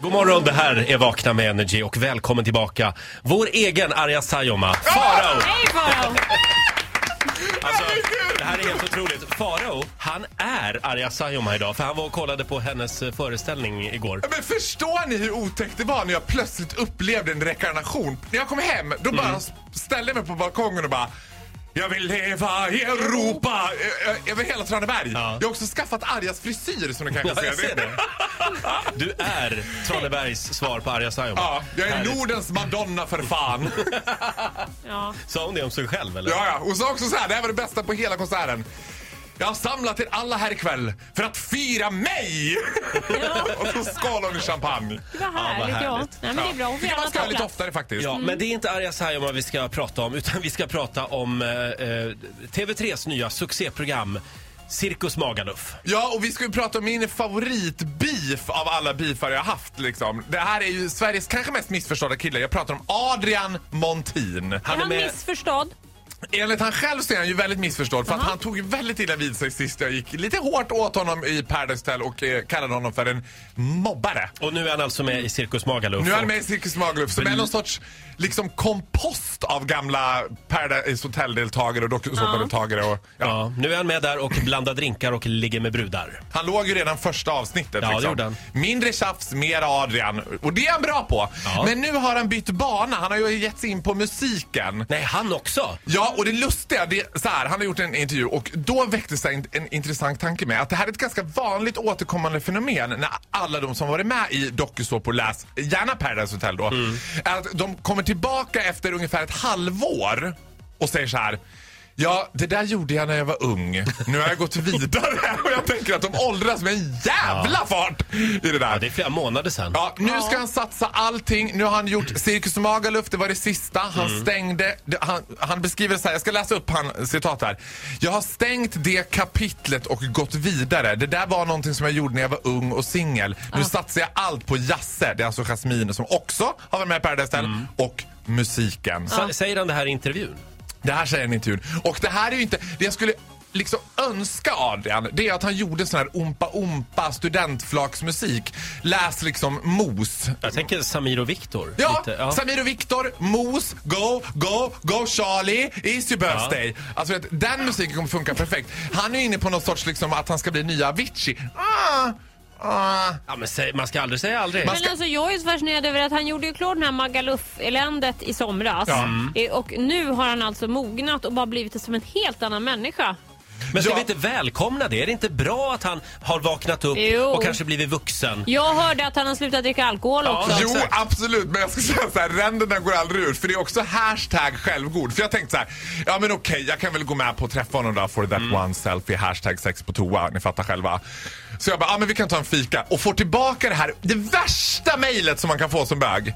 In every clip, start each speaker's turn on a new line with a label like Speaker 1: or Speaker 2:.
Speaker 1: God morgon, det här är Vakna med Energy och välkommen tillbaka vår egen Arja Saijonmaa, Farao!
Speaker 2: Hej Farao!
Speaker 1: Alltså, det här är helt otroligt. Farao, han är Arja Saijonmaa idag för han var och kollade på hennes eh, föreställning igår.
Speaker 3: Men förstår ni hur otäckt det var när jag plötsligt upplevde en rekarnation? När jag kom hem, då bara
Speaker 1: Mm.
Speaker 3: s- ställde jag mig på balkongen och bara jag vill leva i Europa! Ö- ö- Över hela Traneberg.
Speaker 1: Ja.
Speaker 3: Jag har också skaffat Arjas frisyr som ni kanske
Speaker 1: Ja, jag
Speaker 3: ser.
Speaker 1: ser det. Du är Tranebergs svar på Arja Saijonmaa.
Speaker 3: Ja, jag är Nordens Madonna för fan.
Speaker 2: Ja.
Speaker 1: Sa hon det om sig själv eller?
Speaker 3: Ja, ja. Och så också så här, det här var det bästa på hela konserten. Jag har samlat er alla här ikväll för att fira mig! och så skålar hon i champagne.
Speaker 2: Det var härligt. Ja,
Speaker 1: härligt.
Speaker 2: Nej, men det är bra. Hon får
Speaker 3: Tycker man
Speaker 2: gärna
Speaker 3: ska
Speaker 2: ta
Speaker 3: ha lite
Speaker 2: plats.
Speaker 3: oftare faktiskt.
Speaker 1: Ja, men det är inte Arja Saijonmaa vi ska prata om utan vi ska prata om eh, eh, TV3s nya succéprogram Cirkus Magaluf.
Speaker 3: Ja, och vi ska ju prata om min favoritbeef av alla beefar jag har haft. Liksom. Det här är ju Sveriges kanske mest missförstådda kille. Jag pratar om Adrian Montin.
Speaker 2: Är han missförstådd?
Speaker 3: Enligt han själv så är han ju väldigt missförstådd för att han tog ju väldigt illa vid sig sist jag gick lite hårt åt honom i Paradise Hotel och eh, kallade honom för en mobbare.
Speaker 1: Och nu är han alltså med i Cirkus Magaluf.
Speaker 3: Nu är han med i Cirkus Magaluf som är någon sorts liksom, kompost av gamla Paradise Hotel-deltagare och dokusåpadeltagare. och Ja.
Speaker 1: Ja, nu är han med där och blandar drinkar och ligger med brudar.
Speaker 3: Han låg ju redan första avsnittet.
Speaker 1: Ja, det
Speaker 3: liksom.
Speaker 1: gjorde han.
Speaker 3: Mindre tjafs, mer Adrian. Och det är han bra på.
Speaker 1: Ja.
Speaker 3: Men nu har han bytt bana. Han har ju gett sig in på musiken.
Speaker 1: Nej, han också!
Speaker 3: Ja, och det lustiga, det är så här, han har gjort en intervju och då väcktes det en, en intressant tanke med att det här är ett ganska vanligt återkommande fenomen när alla de som varit med i dokusåpor, läs gärna Paradise Hotel då, är att de kommer tillbaka efter ungefär ett halvår och säger så här Ja, det där gjorde jag när jag var ung. Nu har jag gått vidare och jag tänker att de åldras med en jävla fart i det där.
Speaker 1: Ja, det är flera månader sedan.
Speaker 3: Ja, nu ska han satsa allting. Nu har han gjort Cirkus Magaluf, det var det sista. Han stängde... det- Han, han beskriver det så här, jag ska läsa upp han, citat här. Jag har stängt det kapitlet och gått vidare. Det där var någonting som jag gjorde när jag var ung och singel. Nu satsar jag allt på Jasse, det är alltså Jasmine som också har varit med i Paradise Hotel, och musiken.
Speaker 1: Sa- Säger han det här i intervjun?
Speaker 3: Det här säger han i intervjun. Och det här är ju inte... Det jag skulle liksom önska Adrian, det är att han gjorde sån här ompa ompa studentflaksmusik. Läs liksom mos.
Speaker 1: Jag tänker Samir och Viktor.
Speaker 3: Ja,
Speaker 1: Lite, ja.
Speaker 3: Samir och Viktor, Mos, Go, Go, Go Charlie, It's your birthday. Alltså vet, den musiken kommer funka perfekt. Han är ju inne på någon sorts liksom att han ska bli nya Avicii. Ah, ah.
Speaker 1: ja men säg, man ska aldrig säga aldrig.
Speaker 3: Man-
Speaker 2: Men alltså, jag är så fascinerad över att han gjorde ju klart det här Magaluf-eländet i somras.
Speaker 3: Ja.
Speaker 2: Eh, Och nu har han alltså mognat och bara blivit som en helt annan människa.
Speaker 1: Men ska
Speaker 3: Ja.
Speaker 1: vi inte välkomna det? Är det inte bra att han har vaknat upp
Speaker 2: Jo.
Speaker 1: och kanske blivit vuxen?
Speaker 2: Jag hörde att han har slutat dricka alkohol
Speaker 1: Ja.
Speaker 2: också.
Speaker 3: Jo,
Speaker 1: exakt.
Speaker 3: absolut. Men jag ska säga så här, ränderna går aldrig ut. För det är också hashtag självgod. För jag tänkte så här, ja men okej, jag kan väl gå med på att träffa honom då for that one selfie, hashtag sex på toa. Ni fattar själva. Så jag bara, ja men vi kan ta en fika. Och får tillbaka det här, det värsta mejlet som man kan få som bög.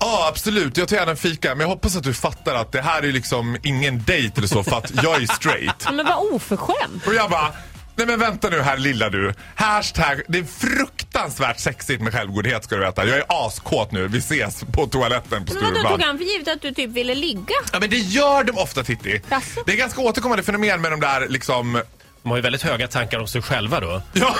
Speaker 3: Ja, absolut. Jag tar gärna en fika. Men jag hoppas att du fattar att det här är liksom ingen dejt eller så, för att jag är straight.
Speaker 2: Ja, Men vad oförskämt.
Speaker 3: Och jag bara, nej men vänta nu här lilla du. Hashtag, det är fruktansvärt sexigt med självgodhet ska du veta. Jag är askåt nu, vi ses på toaletten på
Speaker 2: Men vadå, tog
Speaker 3: Stureplan.
Speaker 2: han för givet att du typ ville ligga?
Speaker 3: Ja men det gör de ofta Titti.
Speaker 2: Jaså?
Speaker 3: Det är ganska återkommande fenomen med de där liksom...
Speaker 1: De har ju väldigt höga tankar om sig själva då.
Speaker 3: Ja,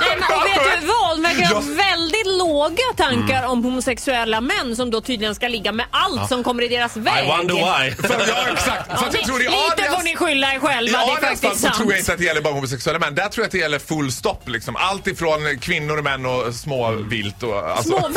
Speaker 2: Nej, men, och vet du vad? De verkar ha
Speaker 3: Jag-
Speaker 2: väldigt låga tankar om homosexuella män som då tydligen ska ligga med allt som kommer i deras väg.
Speaker 1: I wonder why.
Speaker 3: För att- ja exakt. Så att jag tror i
Speaker 2: Lite får
Speaker 3: Adrians...
Speaker 2: ni skylla er
Speaker 3: I
Speaker 2: själva, det är
Speaker 3: Adrians fall
Speaker 2: faktiskt
Speaker 3: så
Speaker 2: sant.
Speaker 3: tror jag inte att det gäller bara homosexuella män. Där tror jag att det gäller full stopp liksom. Allt ifrån kvinnor och män och småvilt och... Alltså,
Speaker 2: Små-